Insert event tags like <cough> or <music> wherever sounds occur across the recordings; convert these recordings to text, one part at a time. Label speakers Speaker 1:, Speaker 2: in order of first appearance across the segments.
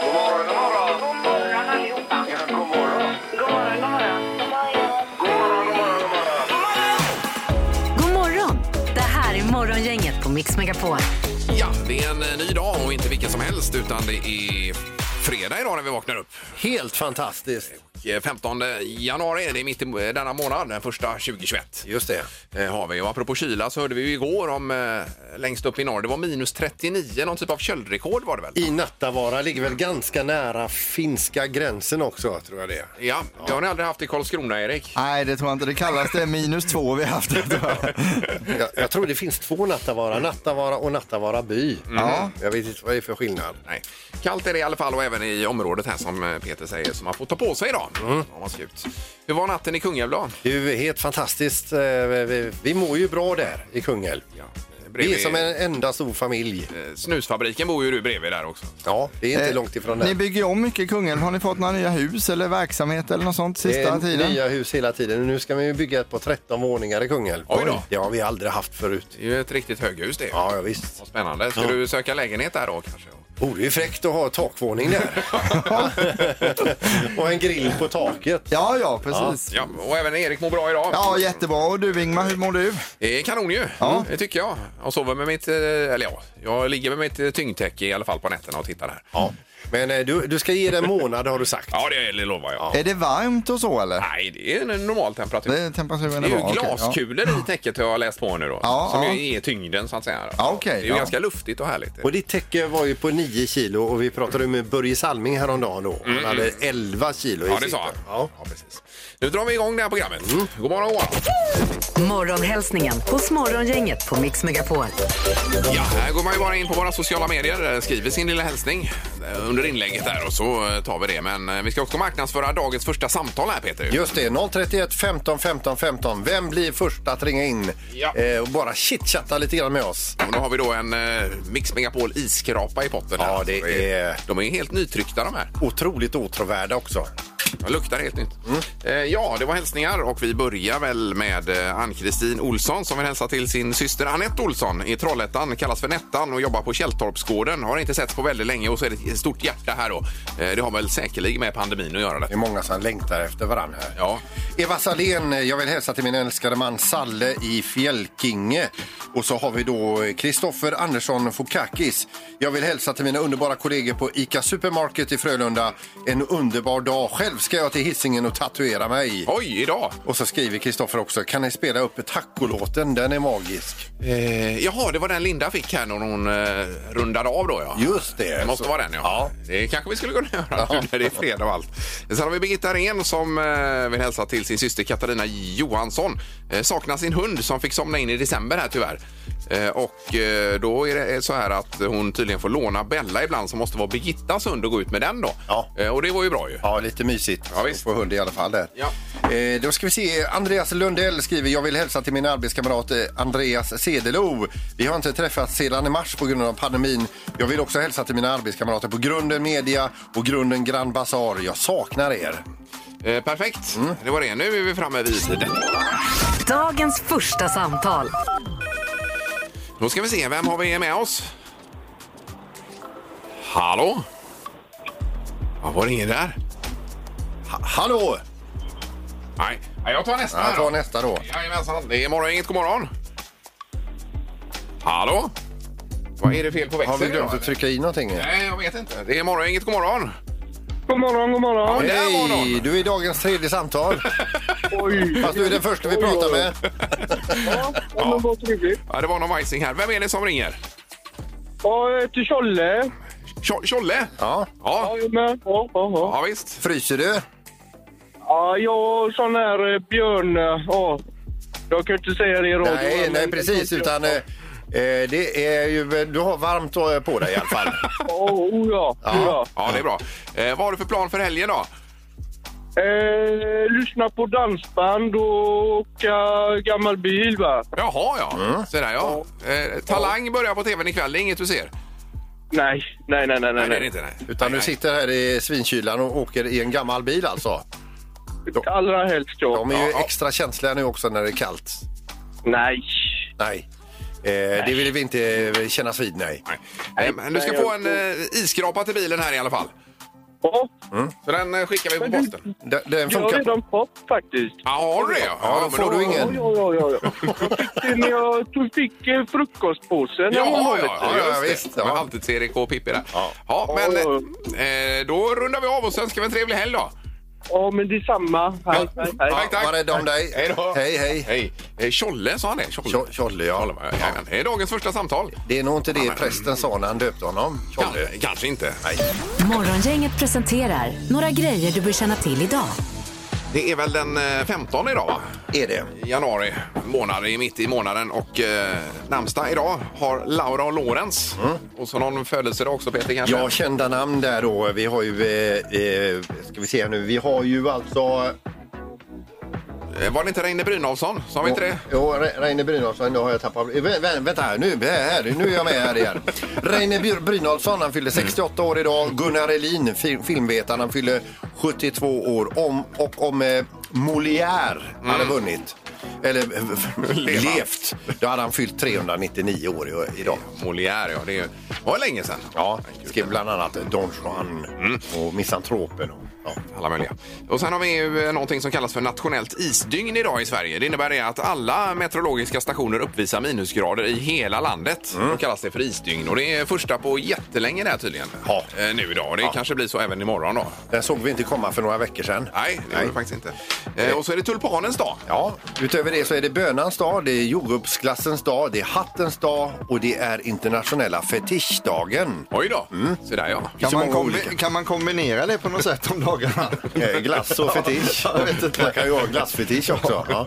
Speaker 1: God morgon, god morgon. God morgon allihopa. Ja, god morgon. God morgon, god morgon. God morgon, god morgon, god morgon.
Speaker 2: God morgon! Det här är Morgongänget på Mix Megapol.
Speaker 3: Ja, det är en eh, ny dag och inte vilken som helst utan det är fredag idag när vi vaknar upp.
Speaker 4: Helt fantastiskt.
Speaker 3: Eh, 15 januari är det mitt i eh, denna månad, den första 2021.
Speaker 4: Just det.
Speaker 3: Eh, har vi. Och apropå kyla så hörde vi ju igår om eh, längst upp i norr, det var minus 39, någon typ av köldrekord var det väl?
Speaker 4: I Nattavara ligger väl ganska nära finska gränsen också, tror jag det är.
Speaker 3: Ja, det har ni aldrig haft i Karlskrona, Erik.
Speaker 5: Nej, det tror jag inte. Det kallas det minus två vi
Speaker 3: <laughs>
Speaker 5: har haft.
Speaker 4: Jag, jag tror det finns två Nattavara, Nattavara och Nattavara by. Ja. Jag vet inte vad det är för skillnad.
Speaker 3: Nej. Kallt är det i alla fall och även i området här som eh, Peter säger som man får ta på sig idag.
Speaker 4: Mm.
Speaker 3: Om man ska ut. Hur var natten i Kungälv
Speaker 4: Det är ju helt fantastiskt. Eh, Vi, vi mår ju bra där i Kungälv.
Speaker 3: Ja.
Speaker 4: Vi är
Speaker 3: Bredvid,
Speaker 4: som en enda stor familj.
Speaker 3: eh, Snusfabriken bor ju du bredvid där också.
Speaker 4: Ja, det är inte långt ifrån
Speaker 5: Ni
Speaker 4: där.
Speaker 5: bygger ju om mycket i Kungälv. Har ni fått några nya hus eller verksamhet eller något sånt
Speaker 4: Det
Speaker 5: sista
Speaker 4: är
Speaker 5: tiden?
Speaker 4: nya hus hela tiden. Nu ska vi ju bygga ett på 13 våningar i Kungälv.
Speaker 3: Oj då.
Speaker 4: Det har vi aldrig haft förut.
Speaker 3: Det är ju ett riktigt höghus det.
Speaker 4: Ja, ja visst.
Speaker 3: Vad spännande. Ska
Speaker 4: Ja.
Speaker 3: du söka lägenhet där då kanske?
Speaker 4: Vore ju fräckt att ha takvåning där. <laughs> och en grill på taket.
Speaker 5: Ja, ja, precis. Ja.
Speaker 3: Ja, och även Erik mår bra idag.
Speaker 5: jättebra. Och du Ingmar, hur mår du?
Speaker 3: Det är kanon ju,
Speaker 5: Ja.
Speaker 3: det tycker jag. Jag sover med mitt, eh, eller ja, jag ligger med mitt eh, tyngdtäcke i alla fall på nätterna och tittar här.
Speaker 4: Ja. Men eh, du, du ska ge det en månad har du sagt.
Speaker 3: Ja, det, det lovar jag.
Speaker 5: Är det varmt och så eller?
Speaker 3: Nej, det är en normal temperatur.
Speaker 5: Det är temperaturen
Speaker 3: Det är
Speaker 5: bra,
Speaker 3: ju
Speaker 5: okej, ja.
Speaker 3: glaskulor i täcket har jag läst på nu då.
Speaker 5: Ja,
Speaker 3: som
Speaker 5: ja.
Speaker 3: ju är tyngden så att säga.
Speaker 5: Ja, okej,
Speaker 3: det är ju
Speaker 5: ja.
Speaker 3: ganska luftigt och härligt.
Speaker 4: Och ditt täcke var ju på 9 kilo och vi pratade med Börje Salming häromdagen då. Han hade 11 kilo i
Speaker 3: Mm. Ja, det
Speaker 4: sitt.
Speaker 3: sa han.
Speaker 4: Ja.
Speaker 3: Ja, precis. Nu drar vi igång det här programmet.
Speaker 5: Mm.
Speaker 3: God morgon, god morgon.
Speaker 2: Morgonhälsningen hos Morgongänget på Mix Megapol.
Speaker 3: Ja, här går man ju bara in på våra sociala medier, eh, skriver sin lilla hälsning eh, under inlägget där och så eh, tar vi det. Men eh, vi ska också marknadsföra dagens första samtal här Peter.
Speaker 4: Just det, 031 15 15 15. Vem blir först att ringa in
Speaker 3: Ja.
Speaker 4: eh, och bara chitchatta lite grann med oss?
Speaker 3: Och då har vi då en eh, Mix Megapol isskrapa i potten. här.
Speaker 4: Ja, det
Speaker 3: Så
Speaker 4: är-
Speaker 3: De är helt nytryckta de här.
Speaker 4: Otroligt åtråvärda också.
Speaker 3: De luktar helt nytt.
Speaker 4: Mm.
Speaker 3: Eh, ja, det var hälsningar och vi börjar väl med eh, Ann-Kristin Olsson som vill hälsa till sin syster Anette Olsson i Trollhättan. Kallas för Nettan och jobbar på Källtorpsgården. Har inte setts på väldigt länge och så är det ett stort hjärta här då. Eh, det har väl säkerligen med pandemin att göra.
Speaker 4: Det
Speaker 3: Det.
Speaker 4: är många som längtar efter varandra här.
Speaker 3: Ja.
Speaker 4: Eva Salén, jag vill hälsa till min älskade man Salle i Fjällkinge. Och så har vi då Kristoffer Andersson Fokakis. Jag vill hälsa till mina underbara kollegor på ICA Supermarket i Frölunda. En underbar dag. Själv ska jag till Hisingen och tatuera mig.
Speaker 3: Oj, idag!
Speaker 4: Och så skriver Kristoffer också, kan ni spela upp tacolåten? Den är magisk.
Speaker 3: Eh, jaha, det var den Linda fick här när hon eh, rundade av då ja.
Speaker 4: Just det.
Speaker 3: Det måste
Speaker 4: Så-
Speaker 3: vara den, ja. Det kanske vi skulle kunna göra nu <laughs> när det är fredag och allt. Sen har vi Birgitta Rehn som eh, vill hälsa till sin syster Katarina Johansson. Eh, saknar sin hund som fick somna in i december här tyvärr. Eh, och eh, då är det så här att hon tydligen får låna Bella ibland som måste vara Birgittas hund och gå ut med den då.
Speaker 4: Ja.
Speaker 3: Eh, och det var ju bra ju.
Speaker 4: Ja, lite mysigt
Speaker 3: Ja, visst.
Speaker 4: att få hund i alla fall. Där.
Speaker 3: Ja.
Speaker 4: Eh, då ska vi se. Andreas Lundell skriver jag vill hälsa till min arbetskamrat eh, Andreas Sedelo. Vi har inte träffats sedan i mars på grund av pandemin. Jag vill också hälsa till mina arbetskamrater på Grunden Media och Grunden Grand Bazaar. Jag saknar er.
Speaker 3: Eh, perfekt,
Speaker 4: Mm.
Speaker 3: det var det. Nu är vi framme vid den.
Speaker 2: Dagens första samtal.
Speaker 3: Då ska vi se, vem har vi med oss? Hallå? Ja, var det ingen där?
Speaker 4: Ha- hallå!
Speaker 3: Nej, Ja, jag tar nästa.
Speaker 4: Jag
Speaker 3: här
Speaker 4: tar
Speaker 3: då.
Speaker 4: nästa då.
Speaker 3: Jajamensan, det är morgongänget. God morgon! Hallå? Vad är det fel på
Speaker 4: Har
Speaker 3: växeln?
Speaker 4: vi glömt
Speaker 3: idag,
Speaker 4: att trycka i någonting?
Speaker 3: eller? Nej, jag vet inte. Det är morgongänget. God morgon!
Speaker 6: God morgon, god morgon.
Speaker 3: Ja, där var
Speaker 4: Hej!
Speaker 3: någon!
Speaker 4: Du är dagens tredje samtal.
Speaker 6: Oj.
Speaker 4: Fast du är den första vi
Speaker 6: Oj,
Speaker 4: pratar
Speaker 6: oj, oj.
Speaker 4: med.
Speaker 6: Ja, ja, men vad trevligt.
Speaker 3: Ja, det var någon vajsing här. Vem är det som ringer?
Speaker 6: Ja, jag heter Tjolle.
Speaker 3: Tjo- Tjolle?
Speaker 4: Ja.
Speaker 6: Ja,
Speaker 3: Ja.
Speaker 6: jag med. Ja, ja, ja.
Speaker 3: ja, visst.
Speaker 4: Fryser du?
Speaker 6: ja, jag har sån här eh, björn... eh, Ja. Jag kan inte säga det i radio.
Speaker 4: Nej,
Speaker 6: men-
Speaker 4: nej precis. Utan, eh, eh, det är ju, du har varmt eh, på dig i alla
Speaker 3: <laughs>
Speaker 4: fall.
Speaker 6: Ja, oh, ja. Oh, ja.
Speaker 3: Ja, det är bra. Eh, vad har du för plan för helgen då?
Speaker 6: Eh, lyssna på dansband och åka gammal bil, va?
Speaker 3: Jaha, ja.
Speaker 4: Mm.
Speaker 3: Så där, ja. Eh, talang börjar på tvn ikväll. Det är inget du ser?
Speaker 6: Nej, nej, nej, nej. nej,
Speaker 3: Nej, det är det
Speaker 6: nej.
Speaker 3: inte. Nej.
Speaker 4: Utan
Speaker 3: nej,
Speaker 4: du sitter här i svinkylan och åker i en gammal bil alltså.
Speaker 6: Allra helst, ja.
Speaker 4: De är ju
Speaker 3: Ja, ja.
Speaker 4: extra känsliga nu också när det är kallt.
Speaker 6: Nej.
Speaker 4: Nej. Eh, det vill vi inte eh, kännas vid, nej.
Speaker 3: Nej, men du ska få en eh, isskrapa till bilen här i alla fall.
Speaker 6: Ja,
Speaker 3: Så den eh, skickar vi på
Speaker 6: Men du-
Speaker 3: posten.
Speaker 4: Den, den
Speaker 6: jag har
Speaker 4: funkar.
Speaker 6: redan fått faktiskt.
Speaker 3: Ja, har du det? Ja,
Speaker 4: Ja, då
Speaker 3: men
Speaker 4: får du
Speaker 6: Ja,
Speaker 4: ingen.
Speaker 6: ja, ja, ja. ja. Jag fick det när jag tog, fick eh, frukostpåsen.
Speaker 3: Ja,
Speaker 6: när jag
Speaker 3: ja,
Speaker 6: var liten.
Speaker 3: ja,
Speaker 4: Ja,
Speaker 3: just det.
Speaker 4: visst, ja.
Speaker 3: Det var alltid Erik och Pippi där. Ja, men
Speaker 6: Ja,
Speaker 3: eh, då rundar vi av och så önskar vi en trevlig helg då.
Speaker 6: ja men detsamma. Hej, hej, hej.
Speaker 3: Tack, tack.
Speaker 4: Var rädd om dig.
Speaker 3: Hej då.
Speaker 4: Hej, hej.
Speaker 3: Hej. Eh, Tjolle, sa han det? Tjolle.
Speaker 4: Tjo- Tjolle, ja.
Speaker 3: Ja, jajamän. Det är dagens första samtal.
Speaker 4: Det är nog inte det prästen sa när han döpte honom. Tjolle.
Speaker 3: Kan- Kanske inte.
Speaker 2: Morgongänget presenterar några grejer du bör känna till idag.
Speaker 3: Det är väl den eh, 15 idag, va?
Speaker 4: Är det?
Speaker 3: januari månad, i mitt i månaden. Och eh, namnsdag idag har Laura och Lorenz. Och så någon födelsedag också, Peter, kanske?
Speaker 4: Mm. Ja, kända namn där då. Vi har ju, eh, eh, ska vi se här nu, vi har ju alltså...
Speaker 3: Eh, Var det inte Reine Brynolfsson? Sa vi inte det?
Speaker 4: Jo, Re- Reine Brynolfsson, nu har jag tappat... Eh, vä- vä- Vänta här, nu, här, nu är jag med här igen. Reine Br- Brynolfsson, han fyllde 68 år idag. Gunnar Elin, fi- filmvetaren, han fyllde 72 år. Om, och om eh, Molière hade vunnit, eller levt, då hade han fyllt 399 år i- idag.
Speaker 3: Molière, ja. Det är ju- var länge sedan.
Speaker 4: Ja, skrev bland annat Don Juan och Misantropen. Och, ja.
Speaker 3: Alla möjliga. Och sen har vi ju eh, någonting som kallas för nationellt isdygn idag i Sverige. Det innebär det att alla meteorologiska stationer uppvisar minusgrader i hela landet.
Speaker 4: Mm.
Speaker 3: Då kallas det för isdygn. Och det är första på jättelänge det här tydligen.
Speaker 4: Ja.
Speaker 3: Eh, Nu idag. Och det kanske blir så även imorgon då.
Speaker 4: Den såg vi inte komma för några veckor sedan.
Speaker 3: Nej, det gör det faktiskt inte. Eh, Och så är det tulpanens dag.
Speaker 4: Ja, utöver det så är det bönans dag, det är jordgubbsglassens dag, det är hattens dag och det är internationella fetischdagen.
Speaker 3: Oj då! Så där ja.
Speaker 4: så
Speaker 5: Kan man,
Speaker 4: många
Speaker 5: kombi-
Speaker 4: olika.
Speaker 5: kan man kombinera det på något sätt
Speaker 3: <laughs>
Speaker 5: om dagarna?
Speaker 4: Eh, glass och
Speaker 5: <laughs>
Speaker 4: fetisch.
Speaker 5: Jag vet inte.
Speaker 4: Man kan ju ha glassfetisch också. Ja.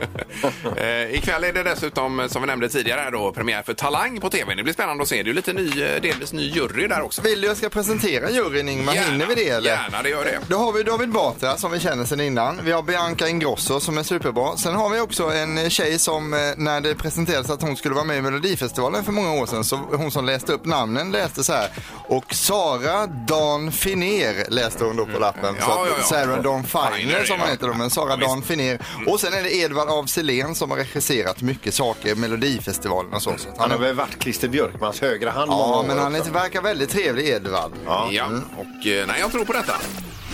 Speaker 3: Eh, ikväll är det dessutom, eh, som vi nämnde tidigare, här då, premiär för Talang på tv. Det blir spännande att se. Det är ju lite ny, eh, delvis ny jury där också.
Speaker 5: Vill du jag ska presentera juryn Ingmar?
Speaker 3: Gärna,
Speaker 5: Hinner vi det eller?
Speaker 3: gärna, det gör det.
Speaker 5: Då har vi David Batra som vi känner sedan innan. Vi har Bianca Ingrosso som är superbra. Sen har vi också en eh, tjej som eh, när det presenterades att hon skulle vara med i Melodifestivalen för många år sedan, så hon som läste upp namnen läste så här. Och Sara Dan Finer läste hon då på lappen.
Speaker 3: Mm. Ja,
Speaker 5: så att
Speaker 3: ja, ja.
Speaker 5: Sarah Dawn Finer
Speaker 3: Finer,
Speaker 5: som
Speaker 3: ja.
Speaker 5: hon heter då, men Sara
Speaker 3: Ja, Mm.
Speaker 5: Dan Finer. Och sen är det Edvard af Sillén som har regisserat mycket saker, Melodifestivalen och så. så att
Speaker 4: Han har väl varit Christer Björkmans högra hand många
Speaker 5: Ja,
Speaker 4: år
Speaker 5: men han
Speaker 4: också.
Speaker 5: är, verkar väldigt trevlig, Edvard.
Speaker 3: Ja. Och, eh, nej, jag tror på detta.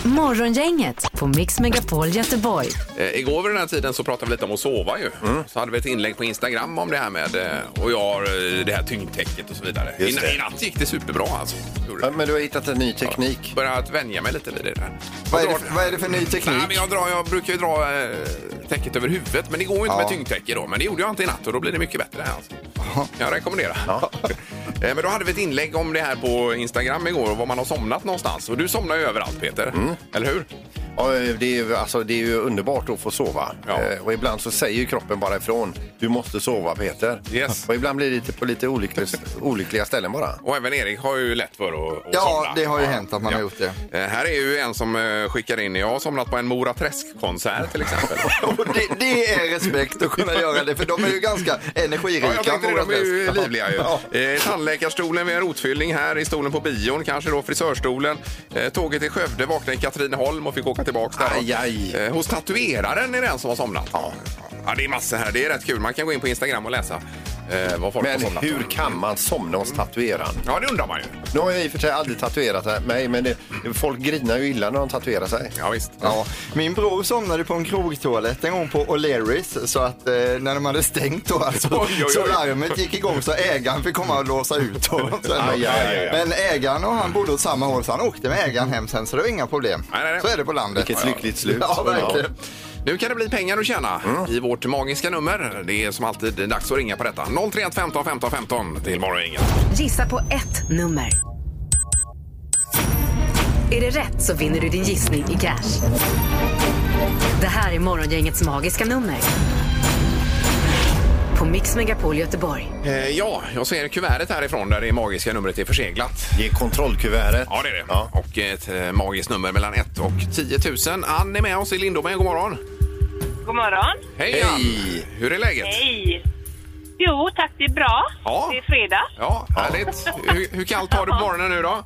Speaker 2: Morgongänget på Mix Megapol Göteborg.
Speaker 3: Eh, igår vid den här tiden så pratade vi lite om att sova ju. Så hade vi ett inlägg på Instagram om det här med eh, och jag har eh, det här tyngdtäcket och så vidare. I,
Speaker 4: Just det.
Speaker 3: I natt gick det superbra alltså. Gjorde
Speaker 4: Ja,
Speaker 3: det.
Speaker 4: Men du har hittat en ny teknik.
Speaker 3: Börjat vänja mig lite vid det där.
Speaker 5: Vad är,
Speaker 3: Jag
Speaker 5: det
Speaker 3: drar-
Speaker 5: för, vad är det för ny
Speaker 3: Nej,
Speaker 5: teknik?
Speaker 3: men jag, drar, jag brukar ju dra eh, täcket över huvudet, men det går ju inte med tyngdtäcke då. Men det gjorde jag inte i natt och då blir det mycket bättre. Alltså. Jag rekommenderar. <laughs> Eh, men då hade vi ett inlägg om det här på Instagram igår, var man har somnat någonstans. Och du somnar ju överallt Peter,
Speaker 5: Mm.
Speaker 3: eller hur?
Speaker 4: Ja, det, är ju, alltså, det är ju underbart att få sova.
Speaker 3: Ja.
Speaker 4: Eh, Och ibland så säger ju kroppen bara ifrån. Du måste sova Peter.
Speaker 3: Yes.
Speaker 4: Och ibland blir det lite på lite olyckliga, olyckliga ställen bara.
Speaker 3: Och även Erik har ju lätt för att, att
Speaker 5: Ja,
Speaker 3: somna.
Speaker 5: det har ju hänt att man har gjort det.
Speaker 3: Eh, Här är ju en som eh, skickar in, jag har somnat på en Mora Träsk-konsert till
Speaker 5: <laughs>
Speaker 3: exempel.
Speaker 5: Och det, det är respekt att kunna göra det, för de är ju ganska
Speaker 3: Ja,
Speaker 5: energirika.
Speaker 3: jag tänkte det,
Speaker 5: Mora
Speaker 3: de är ju
Speaker 5: Träsk.
Speaker 3: livliga ju.
Speaker 5: Ja.
Speaker 3: Eh, tandläkarstolen vid en rotfyllning här, i stolen på bion kanske då, frisörstolen. Eh, tåget till Skövde, vaknade i Katrineholm och fick åka tillbaka där.
Speaker 4: Aj, aj.
Speaker 3: Eh, hos tatueraren är det en som har somnat. Ja. det är massor här, det är rätt kul. Man kan gå in på Instagram och läsa eh, vad folk har
Speaker 4: Men
Speaker 3: somnat.
Speaker 4: hur
Speaker 3: på.
Speaker 4: kan man somna hos tatueraren?
Speaker 3: Ja, det undrar man ju.
Speaker 4: Nu har jag i och för sig aldrig tatuerat mig, men det, folk grinar ju illa när de tatuerar sig.
Speaker 3: Ja, visst.
Speaker 5: Ja, min bror somnade på en krogtoalett en gång på O'Learys så att eh, när de hade stängt då alltså,
Speaker 3: Oj, oj, oj.
Speaker 5: så larmet gick igång så ägaren fick komma och låsa ut honom sen. då.
Speaker 4: Aj, aj, aj, aj.
Speaker 5: Men ägaren och han bodde åt samma håll så han åkte med ägaren hem sen så det var inga problem.
Speaker 3: Nej, nej, nej.
Speaker 5: Så är det på landet.
Speaker 4: Vilket lyckligt slut.
Speaker 5: Ja, verkligen.
Speaker 3: Nu kan det bli pengar att tjäna i vårt magiska nummer. Det är som alltid dags att ringa på detta. 031 15 15 15 till Morgongänget.
Speaker 2: Gissa på ett nummer. Är det rätt så vinner du din gissning i cash. Det här är Morgongängets magiska nummer. På Mix Megapol Göteborg.
Speaker 3: Eh, ja, jag ser kuvertet härifrån där det magiska numret är förseglat.
Speaker 4: Det är kontrollkuvertet.
Speaker 3: Ja, det är det. Och ett eh, magiskt nummer mellan 1 och 10 000. Ann är med oss i Lindome. God morgon!
Speaker 7: God morgon.
Speaker 3: Hej,
Speaker 4: Hej.
Speaker 3: Ann! Hur är läget?
Speaker 7: Hej. Jo, tack. Det är bra.
Speaker 3: Ja.
Speaker 7: Det är fredag.
Speaker 3: Ja, härligt. Hur, hur kallt har du på morgonen nu då?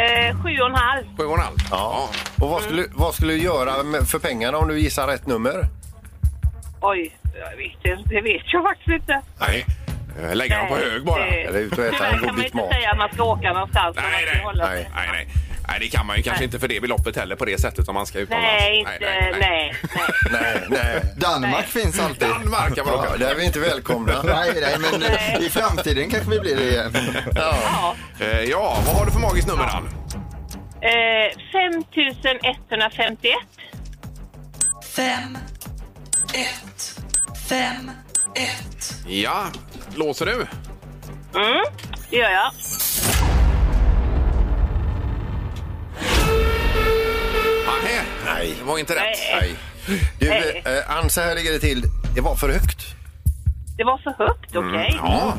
Speaker 7: Eh, sju och en halv.
Speaker 3: Sju och en halv?
Speaker 4: Ja. Och vad skulle, vad skulle du göra med, för pengarna om du gissar rätt nummer?
Speaker 7: Oj, jag vet inte. Det vet jag faktiskt inte.
Speaker 3: Nej. Eh, Lägga dem på hög bara.
Speaker 7: det-
Speaker 4: Eller ut och äta en
Speaker 7: Tyvärr kan
Speaker 4: god
Speaker 7: man
Speaker 4: bit
Speaker 7: inte
Speaker 4: mat.
Speaker 7: säga att man ska åka någonstans. man
Speaker 3: Nej,
Speaker 7: måste
Speaker 3: nej,
Speaker 7: hålla sig.
Speaker 3: nej, nej, nej. Nej, det kan man ju kanske
Speaker 7: Nej.
Speaker 3: inte för det beloppet heller på det sättet om man ska utomlands.
Speaker 7: Nej, inte, nej, nej.
Speaker 4: Nej,
Speaker 3: <laughs>
Speaker 4: nej.
Speaker 5: Danmark
Speaker 7: Nej.
Speaker 5: finns alltid.
Speaker 3: Danmark kan man
Speaker 4: Ja,
Speaker 3: åka.
Speaker 4: där är vi inte välkomna.
Speaker 5: Nej, nej, men eh,
Speaker 7: Nej.
Speaker 5: i framtiden kanske vi blir det igen.
Speaker 7: Ja.
Speaker 3: Eh, Ja, vad har du för magiskt nummer, Ann?
Speaker 7: Eh, 5151.
Speaker 3: Ja, låser du?
Speaker 7: Mm, det gör jag.
Speaker 3: Nej,
Speaker 4: Nej.
Speaker 3: det var inte rätt.
Speaker 7: Nej.
Speaker 4: Nej. Du,
Speaker 7: Nej.
Speaker 4: eh, Ann, så här ligger det till. Det var för högt.
Speaker 7: Det var för högt, okej?
Speaker 3: Ja,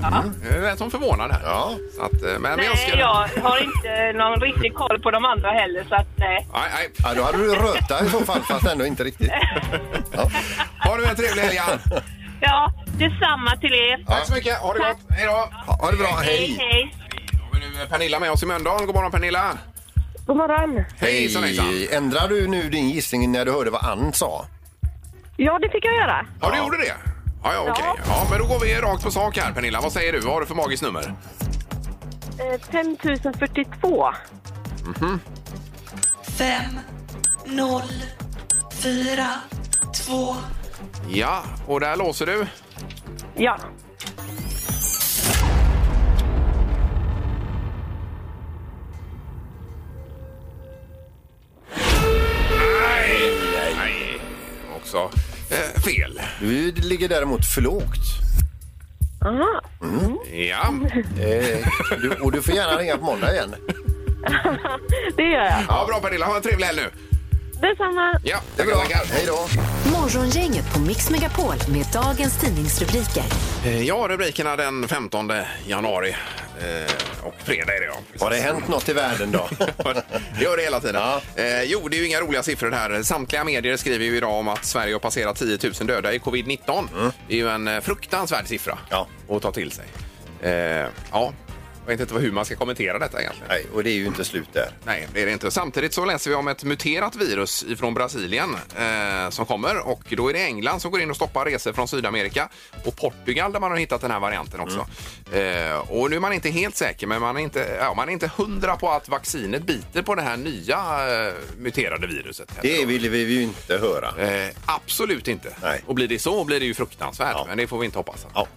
Speaker 3: jag lät som förvånad här.
Speaker 4: Ja.
Speaker 3: Så att, eh, men vi
Speaker 7: Nej,
Speaker 3: önskar...
Speaker 7: jag har inte någon riktig koll på de andra heller, så att eh, nej.
Speaker 3: Nej, nej.
Speaker 4: Ja, då hade du röta i så fall, fast ändå inte
Speaker 3: <laughs>
Speaker 4: riktigt. Ja.
Speaker 3: Ha du en trevlig helg,
Speaker 4: <laughs>
Speaker 3: Ann.
Speaker 7: Ja, detsamma till er.
Speaker 3: Tack så mycket. Ha det gott. Hej då.
Speaker 4: Ha ha det bra,
Speaker 7: Hej,
Speaker 4: hej!
Speaker 7: hej.
Speaker 3: Då har vi nu Pernilla med oss i Mölndal. God morgon, Pernilla.
Speaker 7: God morgon.
Speaker 3: Hejsan, hejsan.
Speaker 4: Ändrar du nu din gissning när du hörde vad Ann sa?
Speaker 7: Ja, det fick jag göra.
Speaker 3: Ja, du gjorde det? Ja, ja, okej. Ja, men då går vi rakt på sak här, Pernilla. Vad säger du? Vad har du för magiskt nummer?
Speaker 7: Eh, 5042.
Speaker 3: Ja, och där låser du.
Speaker 7: Ja.
Speaker 3: Nej, nej. Också eh, fel.
Speaker 4: Du ligger däremot för lågt.
Speaker 7: Aha.
Speaker 3: Ja,
Speaker 4: Eh, du, och du får gärna ringa på måndag igen.
Speaker 7: Det gör jag.
Speaker 3: ja bra Pernilla. Ha en trevlig helg nu.
Speaker 7: Detsamma.
Speaker 3: Ja,
Speaker 4: Det är bra. Hej då!
Speaker 2: Morgongänget på Mix Megapol med dagens tidningsrubriker.
Speaker 3: Eh, Ja, rubrikerna den 15 januari. Eh, och fredag är det, ja.
Speaker 4: Har det hänt något i
Speaker 3: <laughs>
Speaker 4: världen då?
Speaker 3: Det gör det hela tiden.
Speaker 4: Ja.
Speaker 3: Eh, jo, det är ju inga roliga siffror det här. Samtliga medier skriver ju idag om att Sverige har passerat 10 000 döda i covid-19. Det är ju en eh, fruktansvärd siffra
Speaker 4: Mm. Ja.
Speaker 3: att ta till sig. Eh, ja, jag vet inte hur man ska kommentera detta egentligen.
Speaker 4: Nej, och det är ju inte slut där.
Speaker 3: Nej, det är det inte. Samtidigt så läser vi om ett muterat virus från Brasilien eh, som kommer och då är det England som går in och stoppar resor från Sydamerika och Portugal där man har hittat den här varianten också. Eh, och nu är man inte helt säker, men man är inte, ja, man är inte hundra på att vaccinet biter på det här nya eh, muterade viruset. heller.
Speaker 4: Det ville vi ju inte höra.
Speaker 3: Eh, absolut inte.
Speaker 4: Nej.
Speaker 3: Och blir det så blir det ju fruktansvärt,
Speaker 4: Ja.
Speaker 3: men det får vi inte hoppas.
Speaker 4: Ja.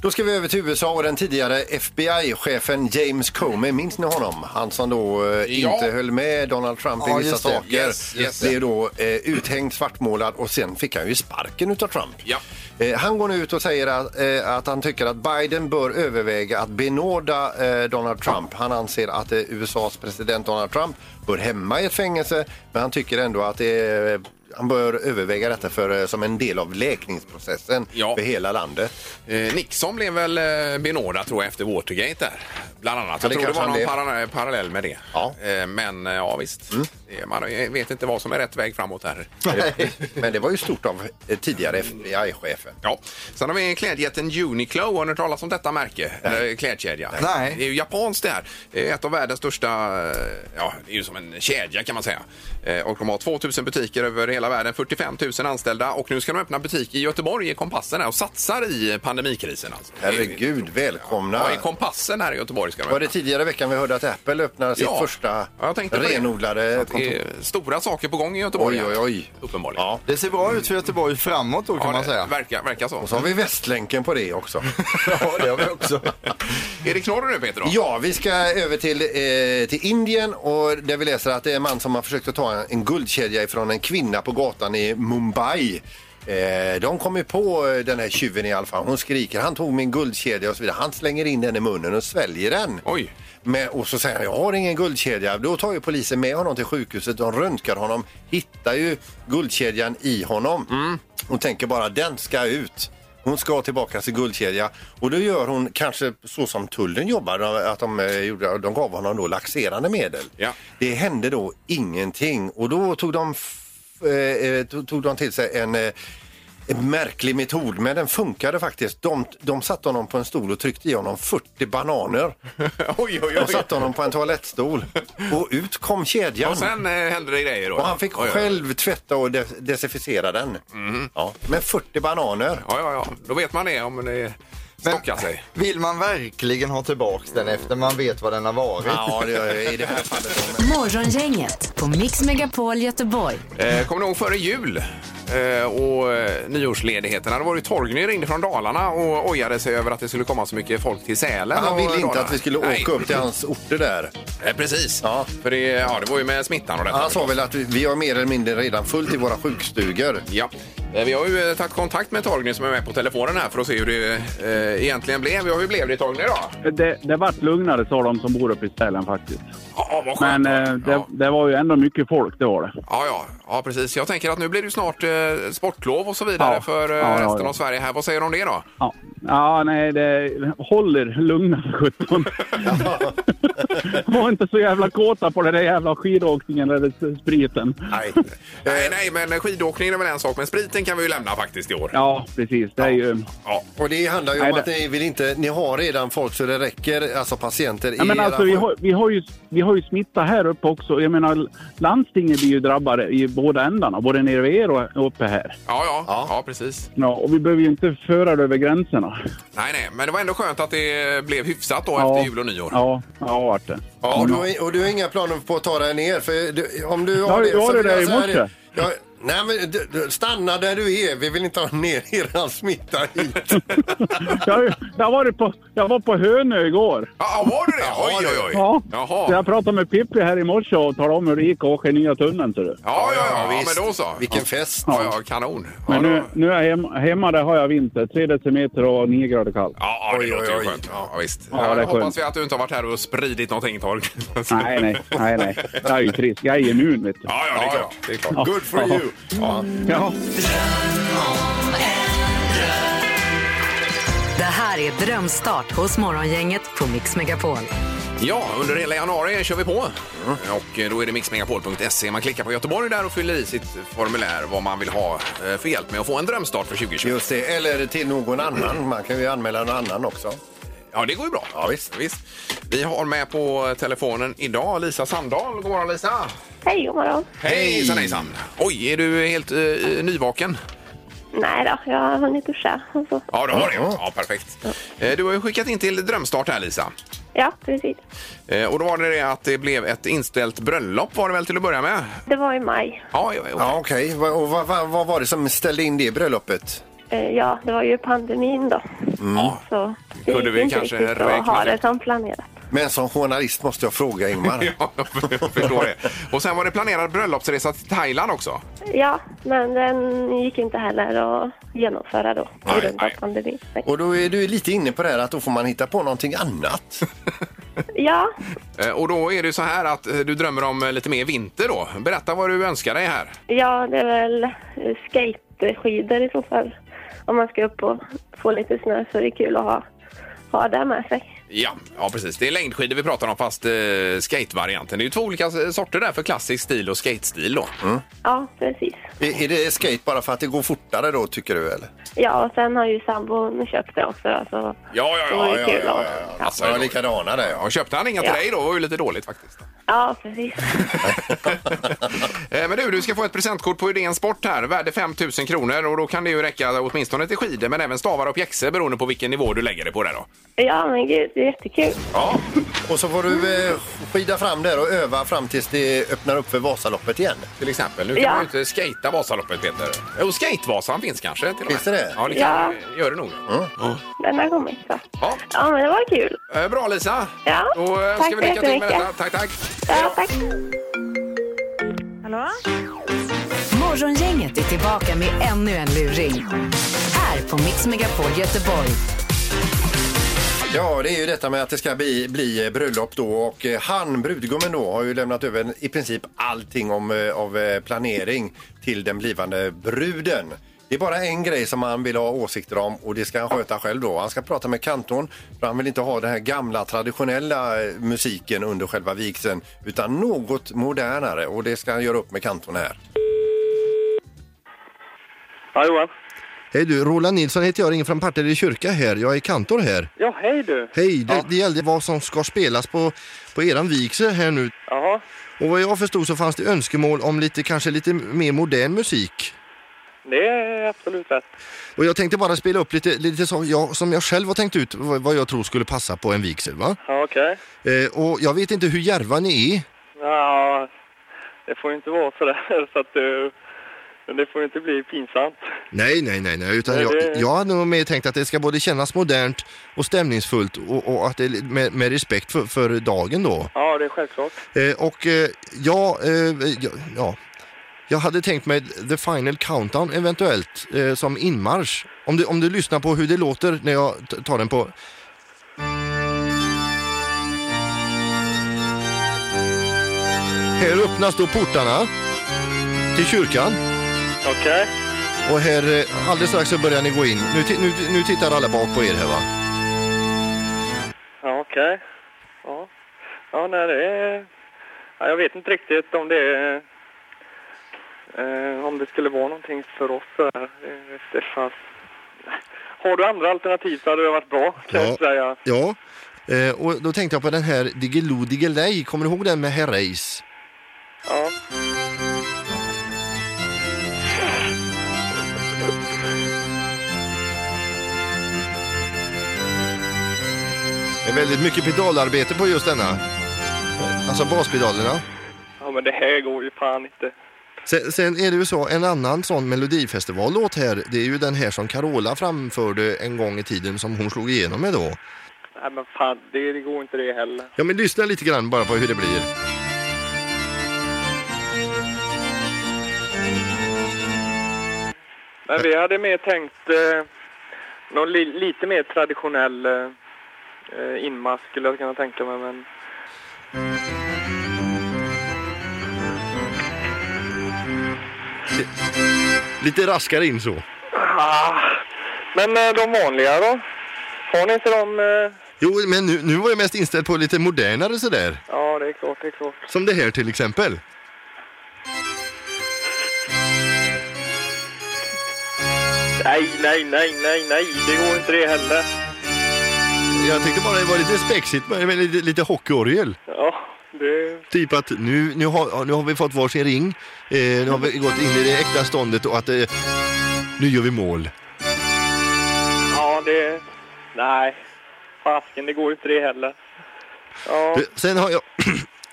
Speaker 4: Då ska vi över till USA och den tidigare FBI-chefen James Comey, minns ni honom? Han som då eh,
Speaker 3: Ja.
Speaker 4: inte höll med Donald Trump
Speaker 5: Ja,
Speaker 4: i vissa
Speaker 5: just det.
Speaker 4: saker.
Speaker 3: Yes, yes.
Speaker 4: Blev då eh, uthängd, svartmålad och sen fick han ju sparken utav Trump.
Speaker 3: Ja.
Speaker 4: Eh, han går nu ut och säger att, eh, att han tycker att Biden bör överväga att benåda eh, Donald Trump. Han anser att eh, USAs president Donald Trump hör hemma i ett fängelse men han tycker ändå att det är han bör överväga detta för, eh, som en del av läkningsprocessen
Speaker 3: Ja.
Speaker 4: för hela landet.
Speaker 3: Eh, Nixon blev väl eh, benådad tror jag efter Watergate där. Bland annat.
Speaker 4: Ja,
Speaker 3: Jag
Speaker 4: det
Speaker 3: tror det
Speaker 4: kanske
Speaker 3: var någon
Speaker 4: han
Speaker 3: para- parallell med det.
Speaker 4: Ja. Mm.
Speaker 3: Eh, men eh, ja visst. Eh, Man eh, vet inte vad som är rätt väg framåt här.
Speaker 4: Eh, Men det var ju stort av eh, tidigare FBI-chefen.
Speaker 3: Ja. Sen har vi klädjätten Uniqlo. Har ni hört talas om detta märke? Eller klädkedja?
Speaker 5: Nej.
Speaker 3: Det är ju japanskt det här. Det är ett av världens största, eh, ja det är ju som en kedja kan man säga. Eh, Och de har 2000 butiker över hela världen, 45 000 anställda och nu ska de öppna butik i Göteborg i Kompassen här och satsar i eh, pandemikrisen. Alltså.
Speaker 4: Herregud, välkomna!
Speaker 3: Ja, i Kompassen här i Göteborg ska de
Speaker 4: Ah. var
Speaker 3: öppna.
Speaker 4: det tidigare i veckan vi hörde att Apple öppnar sitt första
Speaker 3: Ja, jag tänkte på det. Så
Speaker 4: renodlade
Speaker 3: att det
Speaker 4: kontor?
Speaker 3: är Stora saker på gång i Göteborg.
Speaker 4: Oj, oj, oj.
Speaker 3: Uppenbarligen.
Speaker 4: Ja.
Speaker 5: Det ser bra ut för Göteborg framåt då kan
Speaker 3: Ja,
Speaker 5: man
Speaker 3: det
Speaker 5: säga.
Speaker 3: verkar, verkar så.
Speaker 4: Så har vi Västlänken på
Speaker 3: <laughs>
Speaker 4: det också.
Speaker 5: Ja, det har vi också.
Speaker 3: Är det knorr nu Peter? Då?
Speaker 4: Ja, vi ska över till, eh, till Indien och där vi läser att det är en man som har försökt att ta en, en guldkedja ifrån en kvinna på gatan i Mumbai. Eh, de kommer på eh, den här tjuven i alla fall. Hon skriker, han tog min guldkedja och så vidare. Han slänger in den i munnen och sväljer den.
Speaker 3: Oj. <laughs>
Speaker 4: Men, och så säger han, jag har ingen guldkedja. Då tar ju polisen med honom till sjukhuset. De röntgar honom, hittar ju guldkedjan i honom.
Speaker 3: Mm.
Speaker 4: Och tänker bara, den ska ut. Hon ska ha tillbaka sin guldkedja. Och då gör hon kanske så som tullen jobbar, att de, eh, gjorde, de gav honom då laxerande medel.
Speaker 3: Ja.
Speaker 4: Det hände då ingenting. Och då tog de, f- eh, eh, tog- tog de till sig en eh, en märklig metod, men den funkade faktiskt. De, de satte honom på en stol och tryckte i honom 40 bananer.
Speaker 3: oj, oj,
Speaker 4: De
Speaker 3: oj.
Speaker 4: satte honom på
Speaker 3: <laughs>
Speaker 4: en toalettstol och ut kom kedjan.
Speaker 3: Och sen eh, hände det grejer då.
Speaker 4: Och han fick
Speaker 3: Oj, Mm. oj, oj.
Speaker 4: själv tvätta och de- desinficera den. Ja, med 40 bananer.
Speaker 3: Ja, ja, ja. Då vet man det om det Stocka sig.
Speaker 5: vill man verkligen ha tillbaks den efter man vet vad den har varit?
Speaker 4: Ja, det, i det här fallet.
Speaker 2: Morgongänget på Mix Megapol Göteborg.
Speaker 3: Eh, kommer ni ihåg före jul eh, och eh, nyårsledigheterna? Det var ju Torgny ringde från Dalarna och ojade sig över att det skulle komma så mycket folk till Sälen.
Speaker 4: Han
Speaker 3: och
Speaker 4: ville inte
Speaker 3: Dalarna.
Speaker 4: att vi skulle
Speaker 3: Nej.
Speaker 4: åka upp till hans orter där.
Speaker 3: Eh, precis.
Speaker 4: Ja.
Speaker 3: För det, ja, det var ju med smittan och detta.
Speaker 4: Han sa väl att vi- vi har mer eller mindre redan fullt i våra sjukstugor.
Speaker 3: Ja. Eh, Vi har ju eh, tagit kontakt med Torgny som är med på telefonen här för att se hur det eh, egentligen blev. Ja, hur blev det Torgny då?
Speaker 8: Det, det vart lugnare sa de som bor uppe i Sälen faktiskt.
Speaker 3: Ja, vad skönt.
Speaker 8: Men eh, det,
Speaker 3: ja.
Speaker 8: det var ju ändå mycket folk, det var det.
Speaker 3: Ja, ja, ja, precis. Jag tänker att nu blir det ju snart eh, sportlov och så vidare
Speaker 8: Ja.
Speaker 3: för eh,
Speaker 8: Ja, ja,
Speaker 3: resten
Speaker 8: ja.
Speaker 3: av Sverige här. Vad säger du om det då?
Speaker 8: Ja, ja nej, det håller lugna för
Speaker 3: <laughs>
Speaker 8: sjutton. var inte så jävla kåta på den där jävla skidåkningen eller spriten.
Speaker 3: Nej. nej, Eh, nej, men skidåkningen är väl en sak, men spriten kan vi ju lämna faktiskt i år.
Speaker 8: Ja, precis. Det är ju...
Speaker 3: Ja.
Speaker 4: Och det handlar ju
Speaker 8: Nej,
Speaker 4: om att
Speaker 8: det-
Speaker 4: ni vill inte, ni har redan folk så det räcker, alltså patienter
Speaker 8: Ja,
Speaker 4: i
Speaker 8: men
Speaker 4: era
Speaker 8: alltså, vi,
Speaker 4: folk.
Speaker 8: har, vi, har ju, vi har ju smitta här uppe också. Jag menar, landstingen blir ju drabbade i båda ändarna, både nere vid er och uppe här.
Speaker 3: Ja, ja, ja.
Speaker 4: Ja.
Speaker 3: precis.
Speaker 8: Ja, och vi behöver ju inte föra det över gränserna.
Speaker 3: Nej, nej, men det var ändå skönt att det blev hyfsat då
Speaker 8: Ja.
Speaker 3: efter jul och nyår.
Speaker 8: Ja, ja vart det.
Speaker 4: Ja, och, du har, och du har inga planer på att ta dig ner? För du, om du har
Speaker 8: Ja,
Speaker 4: det
Speaker 8: jag har
Speaker 4: så
Speaker 8: det
Speaker 4: vill
Speaker 8: där
Speaker 4: jag
Speaker 8: i
Speaker 4: säga
Speaker 8: morse.
Speaker 4: det. Ja, nej, men du, du, stanna där du är. Vi vill inte ha ner <laughs> er smitta hit.
Speaker 8: <laughs> jag, har ju- jag, var på, jag var på Hönö igår.
Speaker 3: Ja, var du det?
Speaker 4: Ja,
Speaker 3: Oj, oj, oj.
Speaker 8: Ja. Så
Speaker 3: Jaha.
Speaker 8: jag pratade med Pippi här i morse och talade om hur det gick att åka i nya tunneln. Ser du.
Speaker 3: Ja, ja, ja, ja
Speaker 4: visst.
Speaker 3: men då så.
Speaker 4: Vilken fest.
Speaker 3: Ja, ja, kanon. Ja,
Speaker 8: Men nu,
Speaker 3: då-
Speaker 8: nu är jag hemma, hemma där har jag vinter. 3 decimeter och 9 grader kallt.
Speaker 3: Ja, ja, det
Speaker 4: Oj,
Speaker 3: låter
Speaker 4: oj,
Speaker 3: ju
Speaker 4: oj.
Speaker 3: skönt. Ja, visst.
Speaker 8: Ja,
Speaker 3: Ja,
Speaker 8: det är
Speaker 3: hoppas
Speaker 8: skönt.
Speaker 3: vi att du inte har varit här och spridit någonting, Torg.
Speaker 8: <laughs> Nej, nej, nej, nej. Jag är ju frisk. Jag är immun, vet du.
Speaker 3: Ja, ja, Mm. det är klart. Det är klart.
Speaker 4: Good for
Speaker 8: Ja.
Speaker 4: you. Ja.
Speaker 8: Ja.
Speaker 2: Det här är drömstart hos Morgongänget på Mix Megapol.
Speaker 3: Ja, under hela januari kör vi på. Mm. Och eh, då är det mixmegapol.se. Man klickar på Göteborg där och fyller i sitt formulär vad man vill ha eh, för hjälp med att få en drömstart för 2020.
Speaker 4: Just det. Eller till någon annan. Man kan ju anmäla någon annan också.
Speaker 3: Ja, det går ju bra.
Speaker 4: Ja, visst.
Speaker 3: Vi har med på telefonen idag Lisa Sandahl. God morgon Lisa!
Speaker 9: Hej, god morgon.
Speaker 3: Hej! Hejsan hejsan! Oj, är du helt eh, nyvaken?
Speaker 9: Nej då, jag har hunnit duscha. och så.
Speaker 3: Ja, det har du. Ja, perfekt. Eh, Du har ju skickat in till drömstart här Lisa.
Speaker 9: Ja, precis.
Speaker 3: Eh, Och då var det det att det blev ett inställt bröllop var det väl till att börja med?
Speaker 9: Det var i maj.
Speaker 3: Ja, ja, ja.
Speaker 4: Ja, okej. Va- Och vad vad- vad var det som ställde in det bröllopet?
Speaker 9: Eh, Ja, det var ju pandemin då.
Speaker 3: Mm.
Speaker 9: Så det
Speaker 3: Kunde
Speaker 9: gick
Speaker 3: vi
Speaker 9: inte
Speaker 3: kanske
Speaker 9: riktigt att
Speaker 3: räkna
Speaker 9: ha
Speaker 3: ut?
Speaker 9: det som planerat.
Speaker 4: Men som journalist måste jag fråga Ingmar.
Speaker 3: Ja, <laughs> jag förstår det. Och sen var det planerad bröllopsresa till Thailand också.
Speaker 9: Ja, men den gick inte heller att genomföra då på
Speaker 4: Nej,
Speaker 9: grund av
Speaker 3: nej.
Speaker 9: pandemin. Nej.
Speaker 4: Och då är du lite inne på det här att då får man hitta på någonting annat.
Speaker 9: Ja,
Speaker 3: Eh, Och då är det ju så här att eh, du drömmer om eh, lite mer vinter då. Berätta vad du önskar dig här.
Speaker 9: ja, det är väl eh, skateskidor i så fall. Om man ska upp och få lite snö så är det kul att ha, ha det med sig.
Speaker 3: Ja, ja precis. Det är längdskidor vi pratar om fast eh, skatevarianten. Det är ju två olika s- sorter där för klassisk stil och skatestil då.
Speaker 9: Ja, precis.
Speaker 4: Är är det skate bara för att det går fortare då, tycker du? Eller?
Speaker 9: Ja, och sen har ju sambon köpt det också då, så
Speaker 3: Ja, ja,
Speaker 9: det
Speaker 3: ja.
Speaker 9: var
Speaker 3: ja,
Speaker 9: ju
Speaker 3: ja,
Speaker 9: kul
Speaker 3: ja,
Speaker 9: att-
Speaker 3: ja. Alltså,
Speaker 4: Ja, likadana där, ja.
Speaker 3: ja, köpte han inga till
Speaker 9: Ja.
Speaker 3: dig då var ju lite dåligt faktiskt.
Speaker 9: Ja, precis.
Speaker 3: <laughs> Eh, Men du, du ska få ett presentkort på Idén Sport här, värde 5 000 kronor och då kan det ju räcka åtminstone till skidor men även stavar och pjäxor beroende på vilken nivå du lägger det på där då.
Speaker 9: Ja, men gud, det är jättekul.
Speaker 3: Ja,
Speaker 4: <laughs> Och så får du eh, skida fram där och öva fram tills det öppnar upp för Vasaloppet igen.
Speaker 3: till exempel. Nu kan
Speaker 9: Ja.
Speaker 3: man ju inte skata Vasaloppet, Peter. Jo, Skatevasan finns kanske. Till och med.
Speaker 4: Finns det det?
Speaker 3: Ja, det kan,
Speaker 9: Ja.
Speaker 3: gör det nog.
Speaker 9: Den har kommit så.
Speaker 3: Ja.
Speaker 9: Ja, men det var kul.
Speaker 3: Eh, Bra, Lisa.
Speaker 9: Ja,
Speaker 3: Då eh,
Speaker 9: tack
Speaker 3: ska vi
Speaker 9: så
Speaker 3: lycka till med
Speaker 9: jättemycket.
Speaker 3: detta. Tack, tack.
Speaker 9: Ja, tack.
Speaker 7: Hallå?
Speaker 2: Morgongänget är tillbaka med ännu en luring. Här på Mix Megapol Göteborg.
Speaker 4: Ja, det är ju detta med att det ska bli, bli eh, bröllop då och eh, han, brudgummen då, har ju lämnat över en- i princip allting om, eh, av eh, planering till den blivande bruden. Det är bara en grej som han vill ha åsikter om och det ska han sköta själv då. Han ska prata med kantorn för han vill inte ha den här gamla traditionella eh, musiken under själva vigseln utan något modernare och det ska han göra upp med kantorn här.
Speaker 6: Ja, Johan.
Speaker 10: Hej du, Roland Nilsson heter jag, ringer från Partille kyrka här. Jag är kantor här.
Speaker 6: Ja, hej du.
Speaker 10: Hej, det, det gällde vad som ska spelas på, på eran vigsel här nu.
Speaker 6: Jaha.
Speaker 10: Och vad jag förstod så fanns det önskemål om lite, kanske lite mer modern musik.
Speaker 11: det är absolut rätt.
Speaker 4: Och jag tänkte bara spela upp lite, lite som, jag, som jag själv har tänkt ut vad vad jag tror skulle passa på en vigsel. Va?
Speaker 11: Ja, okej.
Speaker 4: Eh, och jag vet inte hur järva ni är.
Speaker 11: Ja, det får ju inte vara så där <laughs> så att du... Det får ju inte bli pinsamt.
Speaker 4: Nej, nej, nej, nej. Utan
Speaker 11: Nej,
Speaker 4: jag,
Speaker 11: det-
Speaker 4: jag hade nog mer tänkt att det ska både kännas modernt och stämningsfullt och, och att det är li- med, med respekt för, för dagen då.
Speaker 11: Ja, det är självklart.
Speaker 4: Eh, och eh, ja, eh, ja, ja, jag hade tänkt mig The Final Countdown eventuellt eh, som inmarsch. Om du, om du lyssnar på hur det låter när jag t- tar den på... Här öppnas då portarna till kyrkan.
Speaker 11: Okej.
Speaker 4: Och här, eh, alldeles strax så börjar ni gå in. Nu, ti- nu, nu tittar alla bak på er här va?
Speaker 11: Ja, okej. Ja. ja, nej, det är... Ja, jag vet inte riktigt om det är... Eh, om det skulle vara någonting för oss så här. Eh, det fanns... Har du andra alternativ så hade det varit bra, kan jag säga.
Speaker 4: Ja, eh, och då tänkte jag på den här Diggiloo Diggiley. Kommer du ihåg den med Herreys?
Speaker 11: Ja.
Speaker 4: Det är väldigt mycket pedalarbete på just denna. Alltså baspedalerna.
Speaker 11: ja, men det här går ju fan inte.
Speaker 4: Sen, sen är det ju så, en annan sån melodifestivallåt här, det är ju den här som Carola framförde en gång i tiden som hon slog igenom med då.
Speaker 11: Nej, men fan, det, det går inte det heller.
Speaker 4: Ja men lyssna lite grann bara på hur det blir.
Speaker 11: Men vi hade mer tänkt eh, någon li, lite mer traditionell eh, eh, inmarsch skulle jag kunna tänka mig. Men...
Speaker 4: Lite raskare in så.
Speaker 11: Ah, men eh, de vanliga då? Har ni inte dem? Eh...
Speaker 4: Jo men nu, nu var jag mest inställd på lite modernare sådär.
Speaker 11: Ja, det är klart, det är klart.
Speaker 4: Som det här till exempel.
Speaker 11: Nej, nej, nej, nej, nej, det går inte det heller.
Speaker 4: Jag tänkte bara det var lite spexigt men men lite, lite hockeyorgel.
Speaker 11: Ja, det...
Speaker 4: Typ att nu, nu, har, ja, nu har vi fått varsin ring, eh, nu har vi gått in i det äkta ståndet och att eh, nu gör vi mål.
Speaker 11: Ja, det... Nej. Fasken, det går inte det heller. Ja,
Speaker 4: Du, Sen har jag...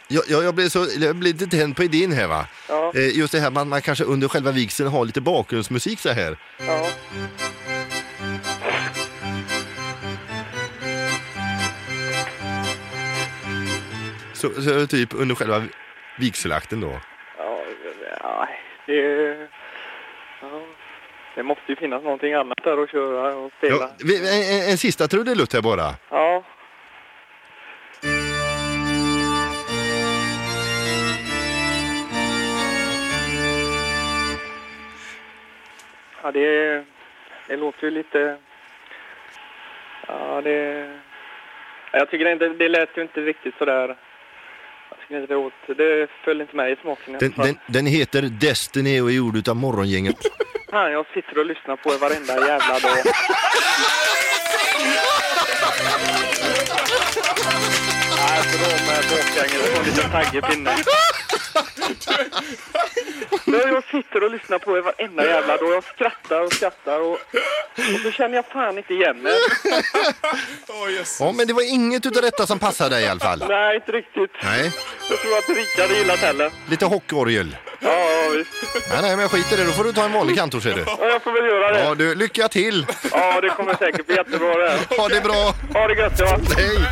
Speaker 4: Jag, jag, jag, blev så, jag blev lite tänd på idén här va.
Speaker 11: Ja.
Speaker 4: Eh, just det här man, man kanske under själva vigseln har lite bakgrundsmusik så här.
Speaker 11: ja.
Speaker 4: Så, så typ under själva vigselakten då.
Speaker 11: Ja, nej, det... Ja. Det måste ju finnas någonting annat där att köra och spela.
Speaker 4: Ja, vi- en, en, en sista trudelutt här bara.
Speaker 11: Ja. Ja, det, det låter ju lite... Ja, det... ja, Jag tycker inte, det lät ju inte riktigt sådär... Jag tycker inte det åt... Det föll inte mig i smaken. i
Speaker 4: Den,
Speaker 11: alla fall.
Speaker 4: den, den heter Destiny och är gjord utav Morgongänget.
Speaker 11: <laughs> Fan, jag sitter och lyssnar på er varenda jävla dag. Nej, för då med bakgängen så får en liten tagg i
Speaker 12: <laughs>
Speaker 11: pinnen. Ja, Jag sitter och lyssnar på er varenda jävla dag. Jag skrattar och skrattar och, och så känner jag fan inte igen mig.
Speaker 4: Ja men det var inget utav detta som passade dig i alla fall.
Speaker 11: Nej, inte riktigt.
Speaker 4: Nej,
Speaker 11: Jag tror att Rickard gillat heller.
Speaker 4: lite hockeyorgel.
Speaker 11: Ja, ja, visst.
Speaker 4: Nej nej men jag skiter i det, då får du ta en vanlig kantor ser du.
Speaker 11: Ja, jag får väl göra det.
Speaker 4: Ja du, lycka till!
Speaker 11: Ja, det kommer säkert bli jättebra det här.
Speaker 4: Ha det bra!
Speaker 11: Ha det gött, ja.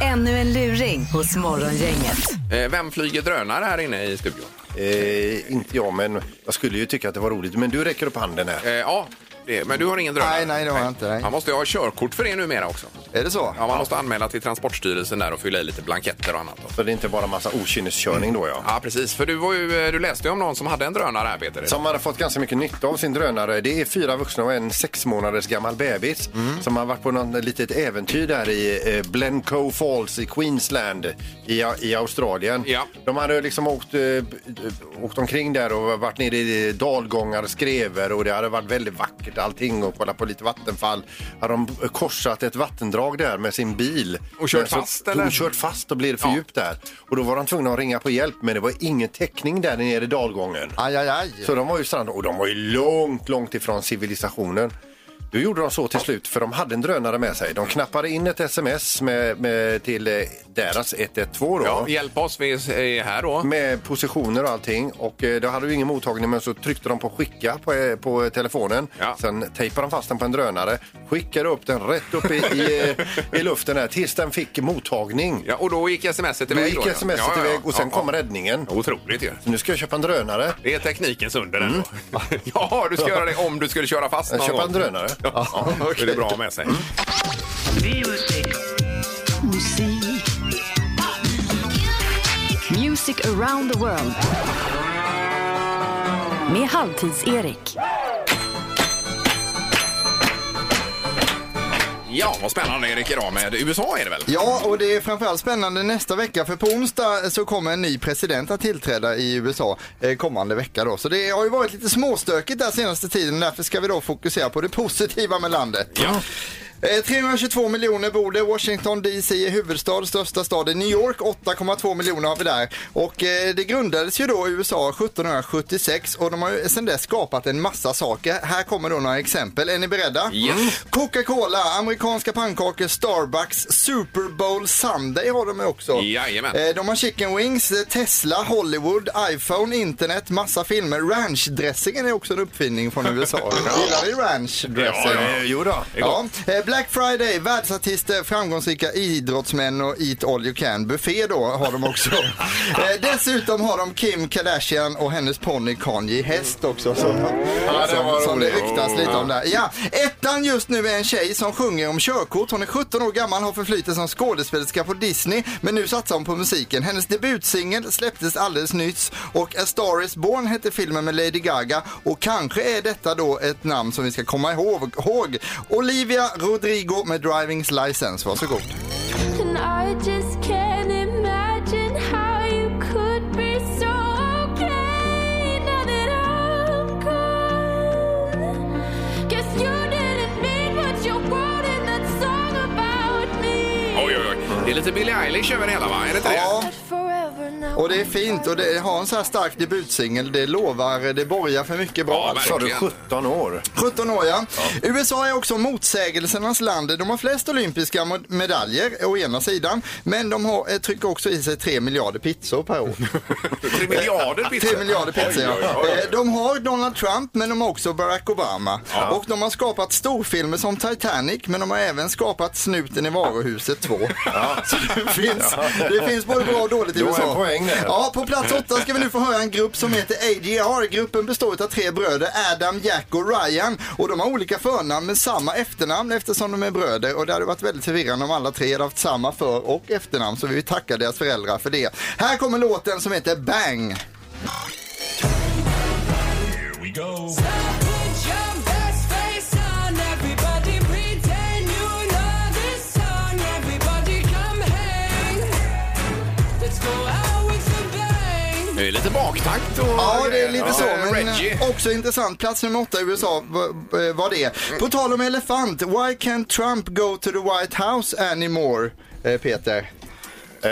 Speaker 2: Ännu en luring hos Morgongänget.
Speaker 3: Eh, Vem flyger drönare här inne i studion?
Speaker 5: Eh, inte jag, men jag skulle ju tycka att det var roligt. Men du räcker upp handen här.
Speaker 3: Eh, ja, det, men du har ingen drönare?
Speaker 5: Nej, nej, det har jag inte, nej.
Speaker 3: Man måste ju ha körkort för det numera också.
Speaker 13: Är det så?
Speaker 3: Ja, man måste anmäla till Transportstyrelsen där och fylla i lite blanketter och annat.
Speaker 5: Så det är inte bara massa okynneskörning då, ja.
Speaker 3: Ja, precis. För du, var ju, eh, du läste ju om någon som hade en drönare här, Peter.
Speaker 5: Som hade fått ganska mycket nytta av sin drönare. Det är fyra vuxna och en sex månaders gammal bebis
Speaker 3: Mm.
Speaker 5: som har varit på något litet äventyr där i eh, Blencoe Falls i Queensland i, i Australien. De hade liksom åkt, eh, åkt omkring där och varit nere i dalgångar, skrever och det hade varit väldigt vackert.
Speaker 4: guide allting och kollade på lite vattenfall. Hade de korsat ett vattendrag där med sin bil.
Speaker 3: Och kört
Speaker 4: Men så-
Speaker 3: fast, eller?
Speaker 4: Och kört fast och blev för djupt där. Och då var de tvungna att ringa på hjälp men det var ingen täckning där nere i dalgången.
Speaker 5: Aj, aj, aj.
Speaker 4: Så de var ju strand och de var ju långt, långt ifrån civilisationen. Då gjorde de så till slut, för de hade en drönare med sig. De knappade in ett sms med, med, till eh, deras 112. Då.
Speaker 3: Ja, hjälp oss, vi är här då.
Speaker 4: Med positioner och allting. Och eh, då hade du ingen mottagning men så tryckte de på skicka på, eh, på eh, telefonen. Sen tejpade de fast den på en drönare. Skickade upp den rätt upp i, i, eh, i luften här tills den fick mottagning.
Speaker 3: Ja, och då gick smset iväg.
Speaker 4: Då gick
Speaker 3: ja.
Speaker 4: sms
Speaker 3: Ja, ja,
Speaker 4: iväg
Speaker 3: ja.
Speaker 4: och sen
Speaker 3: Ja,
Speaker 4: kom
Speaker 3: ja.
Speaker 4: räddningen.
Speaker 3: Otroligt ju.
Speaker 4: Så nu ska jag köpa en drönare.
Speaker 3: Det är teknikens under ändå. <laughs> ja, du ska göra det om du skulle köra fast någon
Speaker 4: Köpa en
Speaker 3: gång.
Speaker 4: drönare.
Speaker 3: <laughs> Ja, det är det bra med sig.
Speaker 2: Music around the world. Med Halvtids-Erik.
Speaker 3: Ja, vad spännande Erik idag med USA är det väl?
Speaker 5: Ja, och det är framförallt spännande nästa vecka för på onsdag så kommer en ny president att tillträda i USA eh, kommande vecka då. Så det har ju varit lite småstökigt där senaste tiden därför ska vi då fokusera på det positiva med landet. Eh, 322 miljoner bor det. Washington DC är huvudstad, största stad i New York. 8,2 miljoner har vi där. Och eh, det grundades ju då i USA 1776 och de har ju sedan dess skapat en massa saker. Här kommer då några exempel. Är ni beredda?
Speaker 1: Ja.
Speaker 5: Coca-Cola, amerikanska pannkakor, Starbucks, Super Bowl Sunday har de ju också.
Speaker 3: Jajamän.
Speaker 5: Eh, De har chicken wings, eh, Tesla, Hollywood, iPhone, internet, massa filmer. Ranchdressingen är också en uppfinning från
Speaker 4: <laughs>
Speaker 5: USA. Gillar vi ranchdressing?
Speaker 4: Ja, ja, jo då. Det är
Speaker 5: Ja. Eh, Black Friday, världsartister, framgångsrika idrottsmän och Eat All You Can. Buffé då har de <laughs> också. eh, dessutom har de Kim Kardashian och hennes ponny Kanye häst också. Som, som, som det ryktas lite om där. Ja, ettan just nu är en tjej som sjunger om körkort. Hon är 17 år gammal, har förflutet som skådespelerska på Disney, men nu satsar hon på musiken. Hennes debutsingel släpptes alldeles nyss och A Star Is Born hette filmen med Lady Gaga och kanske är detta då ett namn som vi ska komma ihåg. ihåg. Olivia Rodrigo med Drivings License, varsågod.
Speaker 1: And I just can't imagine how you could be so okay now that I'm gone. Guess you didn't mean what you wrote in that song about me.
Speaker 3: Oj, oj, oj. Det är lite Billie Eilish över det hela, va? Är det inte det?
Speaker 5: Ja,
Speaker 1: Forever now.
Speaker 5: och det är fint och det har en så här stark debutsingel. Det lovar, det borgar för mycket bra. alltså.
Speaker 4: Ja, Sa du 17 år?
Speaker 5: 17 år ja. USA är också motsägelsernas land. De har flest olympiska mod- medaljer å ena sidan, men de har, eh, trycker också i sig 3 miljarder pizzor per år.
Speaker 3: Tre miljarder pizzor.
Speaker 5: 3 miljarder pizzor
Speaker 3: Oj, oj,
Speaker 5: ja.
Speaker 3: oj.
Speaker 5: Eh, De har Donald Trump men de har också Barack Obama.
Speaker 3: Ja.
Speaker 5: Och de har skapat storfilmer som Titanic men de har även skapat Snuten i varuhuset 2. <laughs> Så det finns, det finns både bra och dåligt i
Speaker 4: Det var
Speaker 5: USA.
Speaker 4: en poäng där.
Speaker 5: Ja, på plats åtta ska vi nu få höra en grupp som heter ADR. Gruppen består av tre bröder, Adam, Jack och Ryan. Och de har olika förnamn men samma efternamn eftersom de är bröder. Och det hade varit väldigt förvirrande om alla tre hade haft samma för och efternamn. Så vi vill tacka deras föräldrar för det. Här kommer låten som heter Bang.
Speaker 3: Det är lite baktakt och...
Speaker 5: Ja, det är lite
Speaker 3: Ja,
Speaker 5: så. Men
Speaker 3: Reggie.
Speaker 5: eh, också intressant. Plats nummer åtta i USA var, eh, var det. På tal om elefant, why can't Trump go to the White House anymore, eh, Peter?
Speaker 4: Eh,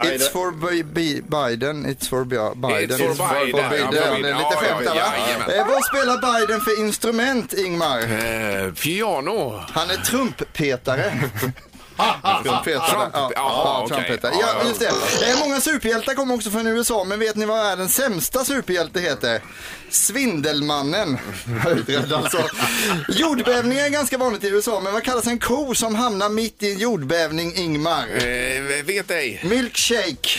Speaker 5: It's for Bi- Bi- Biden, it's for Bi- Biden.
Speaker 3: It's for Biden, ja,
Speaker 5: Biden.
Speaker 3: Biden.
Speaker 5: Lite
Speaker 3: Ja, ja,
Speaker 5: skämt där, va?
Speaker 3: jajamän.
Speaker 5: Eh, Vad spelar Biden för instrument, Ingmar?
Speaker 3: Eh, piano.
Speaker 5: Han är trumpetare. Trumpetare.
Speaker 3: Ah, Trump-
Speaker 5: Ja,
Speaker 3: ja,
Speaker 5: ja,
Speaker 3: okej.
Speaker 5: trumpetare.
Speaker 3: Ja,
Speaker 5: Ja,
Speaker 3: ja.
Speaker 5: just det. Eh, Många superhjältar kommer också från USA, men vet ni vad världens sämsta superhjälte heter? Svindelmannen. Höjdrädd alltså. Jordbävningar är ganska vanligt i USA, men vad kallas en ko som hamnar mitt i en jordbävning, Ingmar?
Speaker 3: Eh, vet ej.
Speaker 5: Milkshake.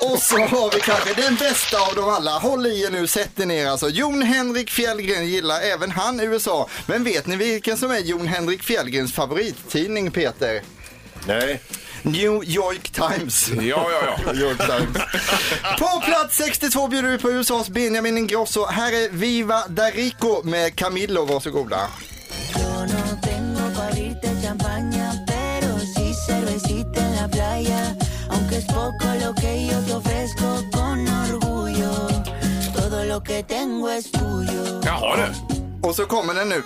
Speaker 5: Och så har vi kanske den bästa av dem alla. Håll i er nu, sätt er ner alltså. Jon Henrik Fjällgren gillar även han USA. Men vet ni vilken som är Jon Henrik Fjällgrens favorittidning, Peter?
Speaker 4: Nej.
Speaker 5: New York Times.
Speaker 3: Ja, ja, ja.
Speaker 5: <laughs> New York Times. På plats 62 bjuder vi på USAs Benjamin Ingrosso. Här är Viva Darico med Camillo, varsågoda.
Speaker 1: Tengo para abrirte champaña, pero sí cervecita en la playa. Aunque es poco lo que yo te ofrezco con orgullo, todo lo que tengo es tuyo.
Speaker 3: Jaha du.
Speaker 5: Och så kommer den nu.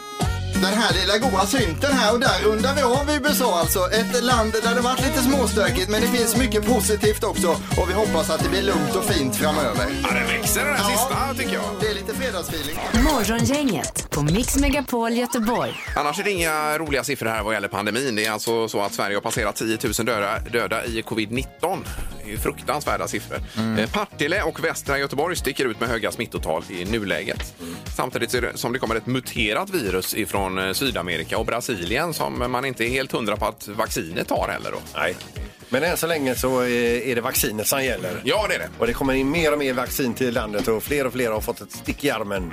Speaker 5: Den här lilla goa synten här och där rundar vi av USA alltså. Ett land där det varit lite småstökigt men det finns mycket positivt också och vi hoppas att det blir lugnt och fint framöver.
Speaker 3: Ja, den växer den här sista tycker jag.
Speaker 5: Det är lite fredagsfeeling.
Speaker 2: Morgongänget på Mix Megapol Göteborg.
Speaker 3: Annars är det inga roliga siffror här vad gäller pandemin. Det är alltså så att Sverige har passerat 10 000 döda, döda i covid-19. Det är ju fruktansvärda siffror. Eh, Partille och västra Göteborg sticker ut med höga smittotal i nuläget. Samtidigt ser det- som det kommer ett muterat virus ifrån eh, Sydamerika och Brasilien som man inte är helt hundra på att vaccinet har heller. Då.
Speaker 4: Nej. Men än så länge så eh, är det vaccinet som gäller.
Speaker 3: Ja, det är det.
Speaker 4: Och det kommer in mer och mer vaccin till landet och fler och fler har fått ett stick i armen.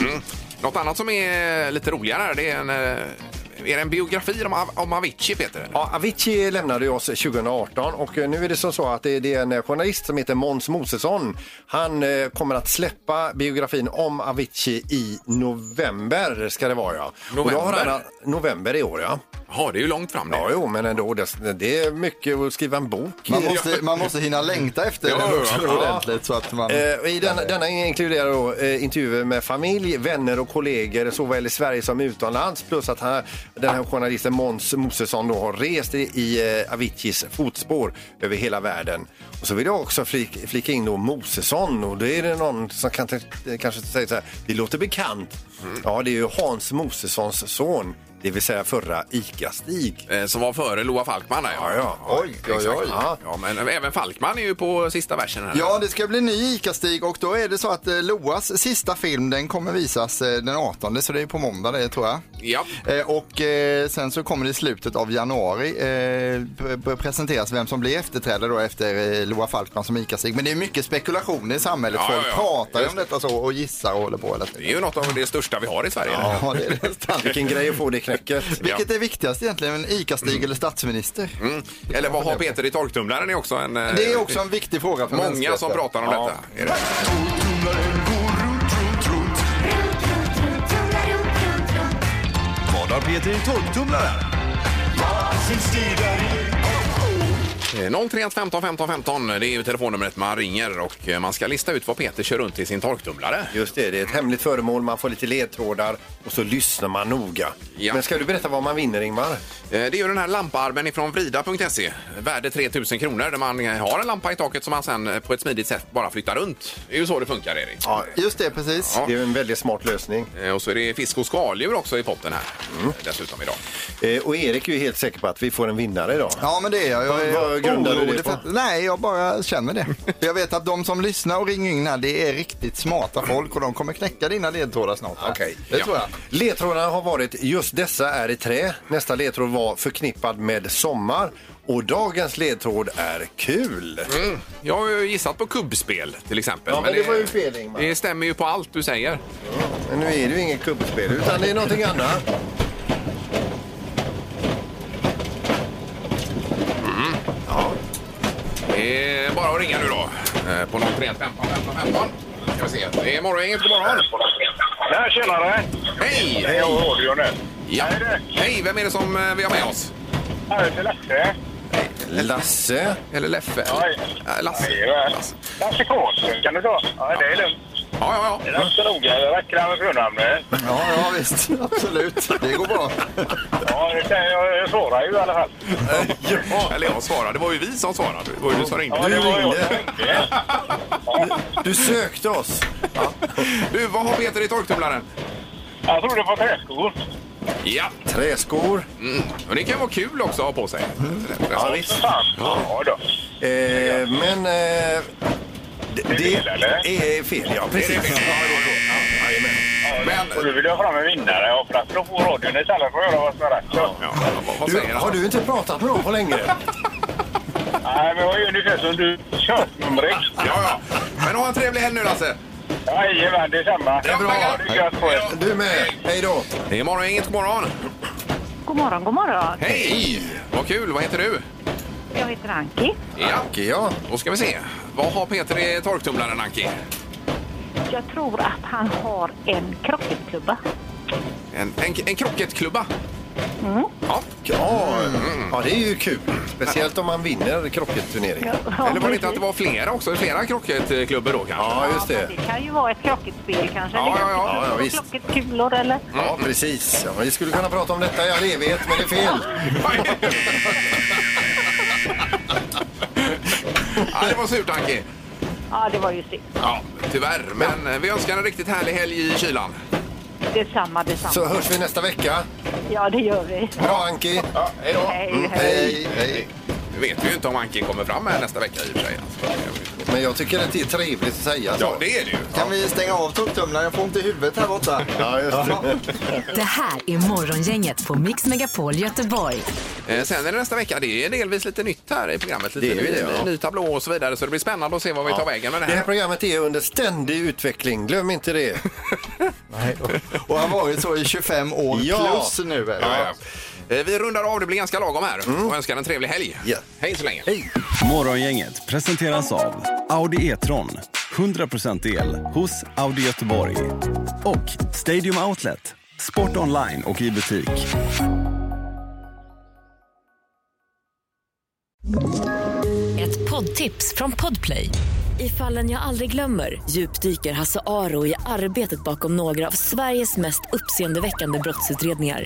Speaker 3: Något annat som är lite roligare här, det är en, eh, är det en biografi om, Av- om Avicii, Peter?
Speaker 4: Ja, Avicii lämnade ju oss 2018 och eh, nu är det som så att det det är en eh, journalist som heter Måns Mosesson. Han eh, kommer att släppa biografin om Avicii i november ska det vara ja. Och då har
Speaker 3: November?
Speaker 4: han, november i år ja.
Speaker 3: Ja, det är ju långt fram det.
Speaker 4: Ja, jo, men ändå. Det, det är mycket att skriva en bok.
Speaker 5: Man måste, man måste hinna längta efter
Speaker 4: Ja,
Speaker 5: den också
Speaker 4: ja.
Speaker 5: ordentligt så att man...
Speaker 4: Eh, och I den, denna inkluderar då, eh, intervjuer med familj, vänner och kollegor såväl i Sverige som utomlands. Plus att han, den här journalisten Måns Mosesson då har rest i, i eh, Aviciis fotspår över hela världen. Och så vill jag också flik, flika in då Mosesson och det är det någon som kan, t- kanske säger så här, det låter bekant. Ja, det är ju Hans Mosessons son, det vill säga förra ICA-Stig.
Speaker 3: Eh, Som var före Loa Falkman. Där, ja.
Speaker 4: Ja, ja.
Speaker 3: Oj, oj, oj. Ja, men eh, även Falkman är ju på sista versen. Här.
Speaker 5: Ja, det ska bli ny ICA-Stig och då är det så att eh, Loas sista film den kommer visas eh, den 18 så det är på måndag det tror jag.
Speaker 3: Ja.
Speaker 5: Eh, Och eh, sen så kommer det i slutet av januari eh, p- p- presenteras vem som blir efterträdare då efter eh, Loa Falkman som ICA-Stig. Men det är mycket spekulationer i samhället.
Speaker 3: Ja,
Speaker 5: Folk
Speaker 3: ja, ja.
Speaker 5: pratar ju om detta så och gissar och håller på. Eller?
Speaker 3: Det är ju något av det största vi har i Sverige.
Speaker 5: Ja, det är det nästan.
Speaker 4: Vilken grej att få det knäcket.
Speaker 5: Vilket är viktigast egentligen, ICA-Stig eller statsminister?
Speaker 3: Mm. Eller vad har Peter i torktumlaren? är också en... eh,
Speaker 5: Det är också en viktig fråga för
Speaker 3: Många som
Speaker 5: mänskligheten.
Speaker 3: pratar om
Speaker 5: Ja.
Speaker 3: detta. Är det?
Speaker 14: Vad har Peter i torktumlaren?
Speaker 3: Eh, 031 15 15 15, det är ju telefonnumret man ringer och eh, man ska lista ut vad Peter kör runt i sin torktumlare.
Speaker 4: Just det, det är ett hemligt föremål, man får lite ledtrådar och så lyssnar man noga. Men ska du berätta vad man vinner Ingmar?
Speaker 3: Eh, Det är ju den här lamparmen ifrån vrida.se, värde 3000 kronor, där man eh, har en lampa i taket som man sen eh, på ett smidigt sätt bara flyttar runt. Det är ju så det funkar, Erik.
Speaker 4: Ja,
Speaker 5: just det, precis.
Speaker 4: Det är en väldigt smart lösning.
Speaker 3: Eh, Och så är det fisk och skaldjur också i potten här,
Speaker 4: Mm.
Speaker 3: eh, dessutom idag.
Speaker 4: Eh, och Erik är ju helt säker på att vi får en vinnare idag.
Speaker 5: Ja, men det är jag. jag är
Speaker 4: Typ. Vad- vad grundar du det
Speaker 5: orolig
Speaker 4: på?
Speaker 5: att- nej, jag bara känner det. Jag vet att de som lyssnar och ringer in här, det är riktigt smarta folk och de kommer knäcka dina ledtrådar snart. här.
Speaker 4: Okej.
Speaker 5: Det tror jag.
Speaker 4: Ledtrådarna har varit just dessa är i trä. Nästa ledtråd var förknippad med sommar. Och dagens ledtråd är kul.
Speaker 3: Mm. Jag har ju gissat på kubbspel till exempel.
Speaker 4: Ja, men det var ju fel, Ingmar.
Speaker 3: Det stämmer ju på allt du säger.
Speaker 4: Men nu är det ju inget kubbspel utan det är någonting annat.
Speaker 3: Det är bara att ringa nu då. eh, På 031 15 15 15. Ska vi se. Det är morgongänget. God morgon!
Speaker 12: Ja, tjenare!
Speaker 3: Hej!
Speaker 12: Hej, jag har radion här.
Speaker 3: Ja. Hej, vem är det som eh, vi har med oss?
Speaker 12: Ja, det är Lasse.
Speaker 4: Lasse.
Speaker 3: Eller Leffe?
Speaker 12: Nej.
Speaker 3: Äh, Lasse.
Speaker 12: Lasse. Lasse Karlsson kan du ta. Ja, det är lugnt.
Speaker 3: Ja, ja,
Speaker 12: ja. Det är inte så noga. Det räcker med förnamnet.
Speaker 5: Ja, ja visst. Absolut. Det
Speaker 4: <laughs>
Speaker 5: går bra.
Speaker 12: Ja, det kan jag, jag svarar ju i alla fall.
Speaker 3: Ja. Eller jag svarade. Det var ju vi som svarade. Det var ju du som ringde.
Speaker 12: Ja, det var jag.
Speaker 4: Du sökte oss.
Speaker 3: Du, vad har Peter i torktumlaren?
Speaker 12: Jag tror det var träskor.
Speaker 3: Ja.
Speaker 4: Träskor.
Speaker 3: Mm. Och det kan vara kul också att ha på sig.
Speaker 4: Ja, visst.
Speaker 12: Ja, då.
Speaker 4: Eh, men eh, det, det är fel, ja. Precis.
Speaker 12: Men... Nu vill jag ha fram en vinnare. Ja, för att då får radion istället för att göra vad som är rätt. Ja.
Speaker 4: Du, har du inte pratat med dem på länge?
Speaker 12: Nej, men jag gör ungefär som du. Körsnumret.
Speaker 3: Ja, ja. Men ha en trevlig helg nu, Lasse.
Speaker 12: Jajamän, detsamma. Det är bra. Det är gött på er.
Speaker 4: Du med. Hej då.
Speaker 3: Det är morgongänget. God morgon!
Speaker 15: God morgon, god morgon.
Speaker 3: Hej! Vad kul. Vad heter du?
Speaker 15: Jag heter Anki.
Speaker 3: Ja. Anki, ja. Då ska vi se. Vad har Peter i torktumlaren, Anki?
Speaker 15: Jag tror att han har en krocketklubba.
Speaker 3: En, en, en krocketklubba.
Speaker 7: Mm.
Speaker 4: Ja, ja, det är ju kul. Speciellt om man vinner krocketturneringen.
Speaker 3: Eller var det inte att det var flera också? Flera krocketklubbor då kanske?
Speaker 4: Ja, just det.
Speaker 7: Det kan ju vara ett krocketspel kanske.
Speaker 4: Ja,
Speaker 7: eller
Speaker 4: ja, ja,
Speaker 7: krocketkulor,
Speaker 4: ja, visst.
Speaker 7: Krocketkulor eller?
Speaker 4: Ja, precis. Ja, vi skulle kunna prata om detta i all evighet, men det är fel.
Speaker 3: Ja, det var surt Anki.
Speaker 7: Ja, det var ju synd.
Speaker 3: Ja, tyvärr. Men eh, vi önskar en riktigt härlig helg i kylan.
Speaker 7: Detsamma, detsamma.
Speaker 4: Så hörs vi nästa vecka.
Speaker 7: Ja, det gör vi.
Speaker 4: Bra, Anki.
Speaker 3: Ja, hej då.
Speaker 4: Mm.
Speaker 7: Hej,
Speaker 4: hej.
Speaker 3: Nu vet vi ju inte om Anki kommer fram här nästa vecka i och för sig.
Speaker 4: Men jag tycker att det är trevligt att säga så.
Speaker 3: Ja, det är det ju.
Speaker 5: Kan vi stänga av torktumlaren? Jag får inte i huvudet här borta.
Speaker 4: Ja, just det.
Speaker 16: Det här är Morgongänget på Mix Megapol Göteborg.
Speaker 3: Eh, Sen är det nästa vecka. Det är delvis lite nytt här i programmet. Lite
Speaker 4: Det är
Speaker 3: ny,
Speaker 4: det, ja.
Speaker 3: ny tablå och så vidare. Så det blir spännande att se vad vi tar vägen med det
Speaker 4: Det här
Speaker 3: här.
Speaker 4: programmet är under ständig utveckling, glöm inte det.
Speaker 5: Och har varit så i 25 år
Speaker 4: Ja.
Speaker 5: plus nu. Eller?
Speaker 3: Ja, ja. Eh, Vi rundar av. Det Mm. blir ganska lagom här. Och önskar en trevlig helg. Hej så länge.
Speaker 17: Morgongänget presenteras av Audi E-tron. 100% el hos Audi Göteborg. Och Stadium Outlet. Sport online och i butik.
Speaker 9: Ett poddtips från Podplay. I fallen jag aldrig glömmer djupdyker Hasse Aro i arbetet bakom några av Sveriges mest uppseendeväckande brottsutredningar.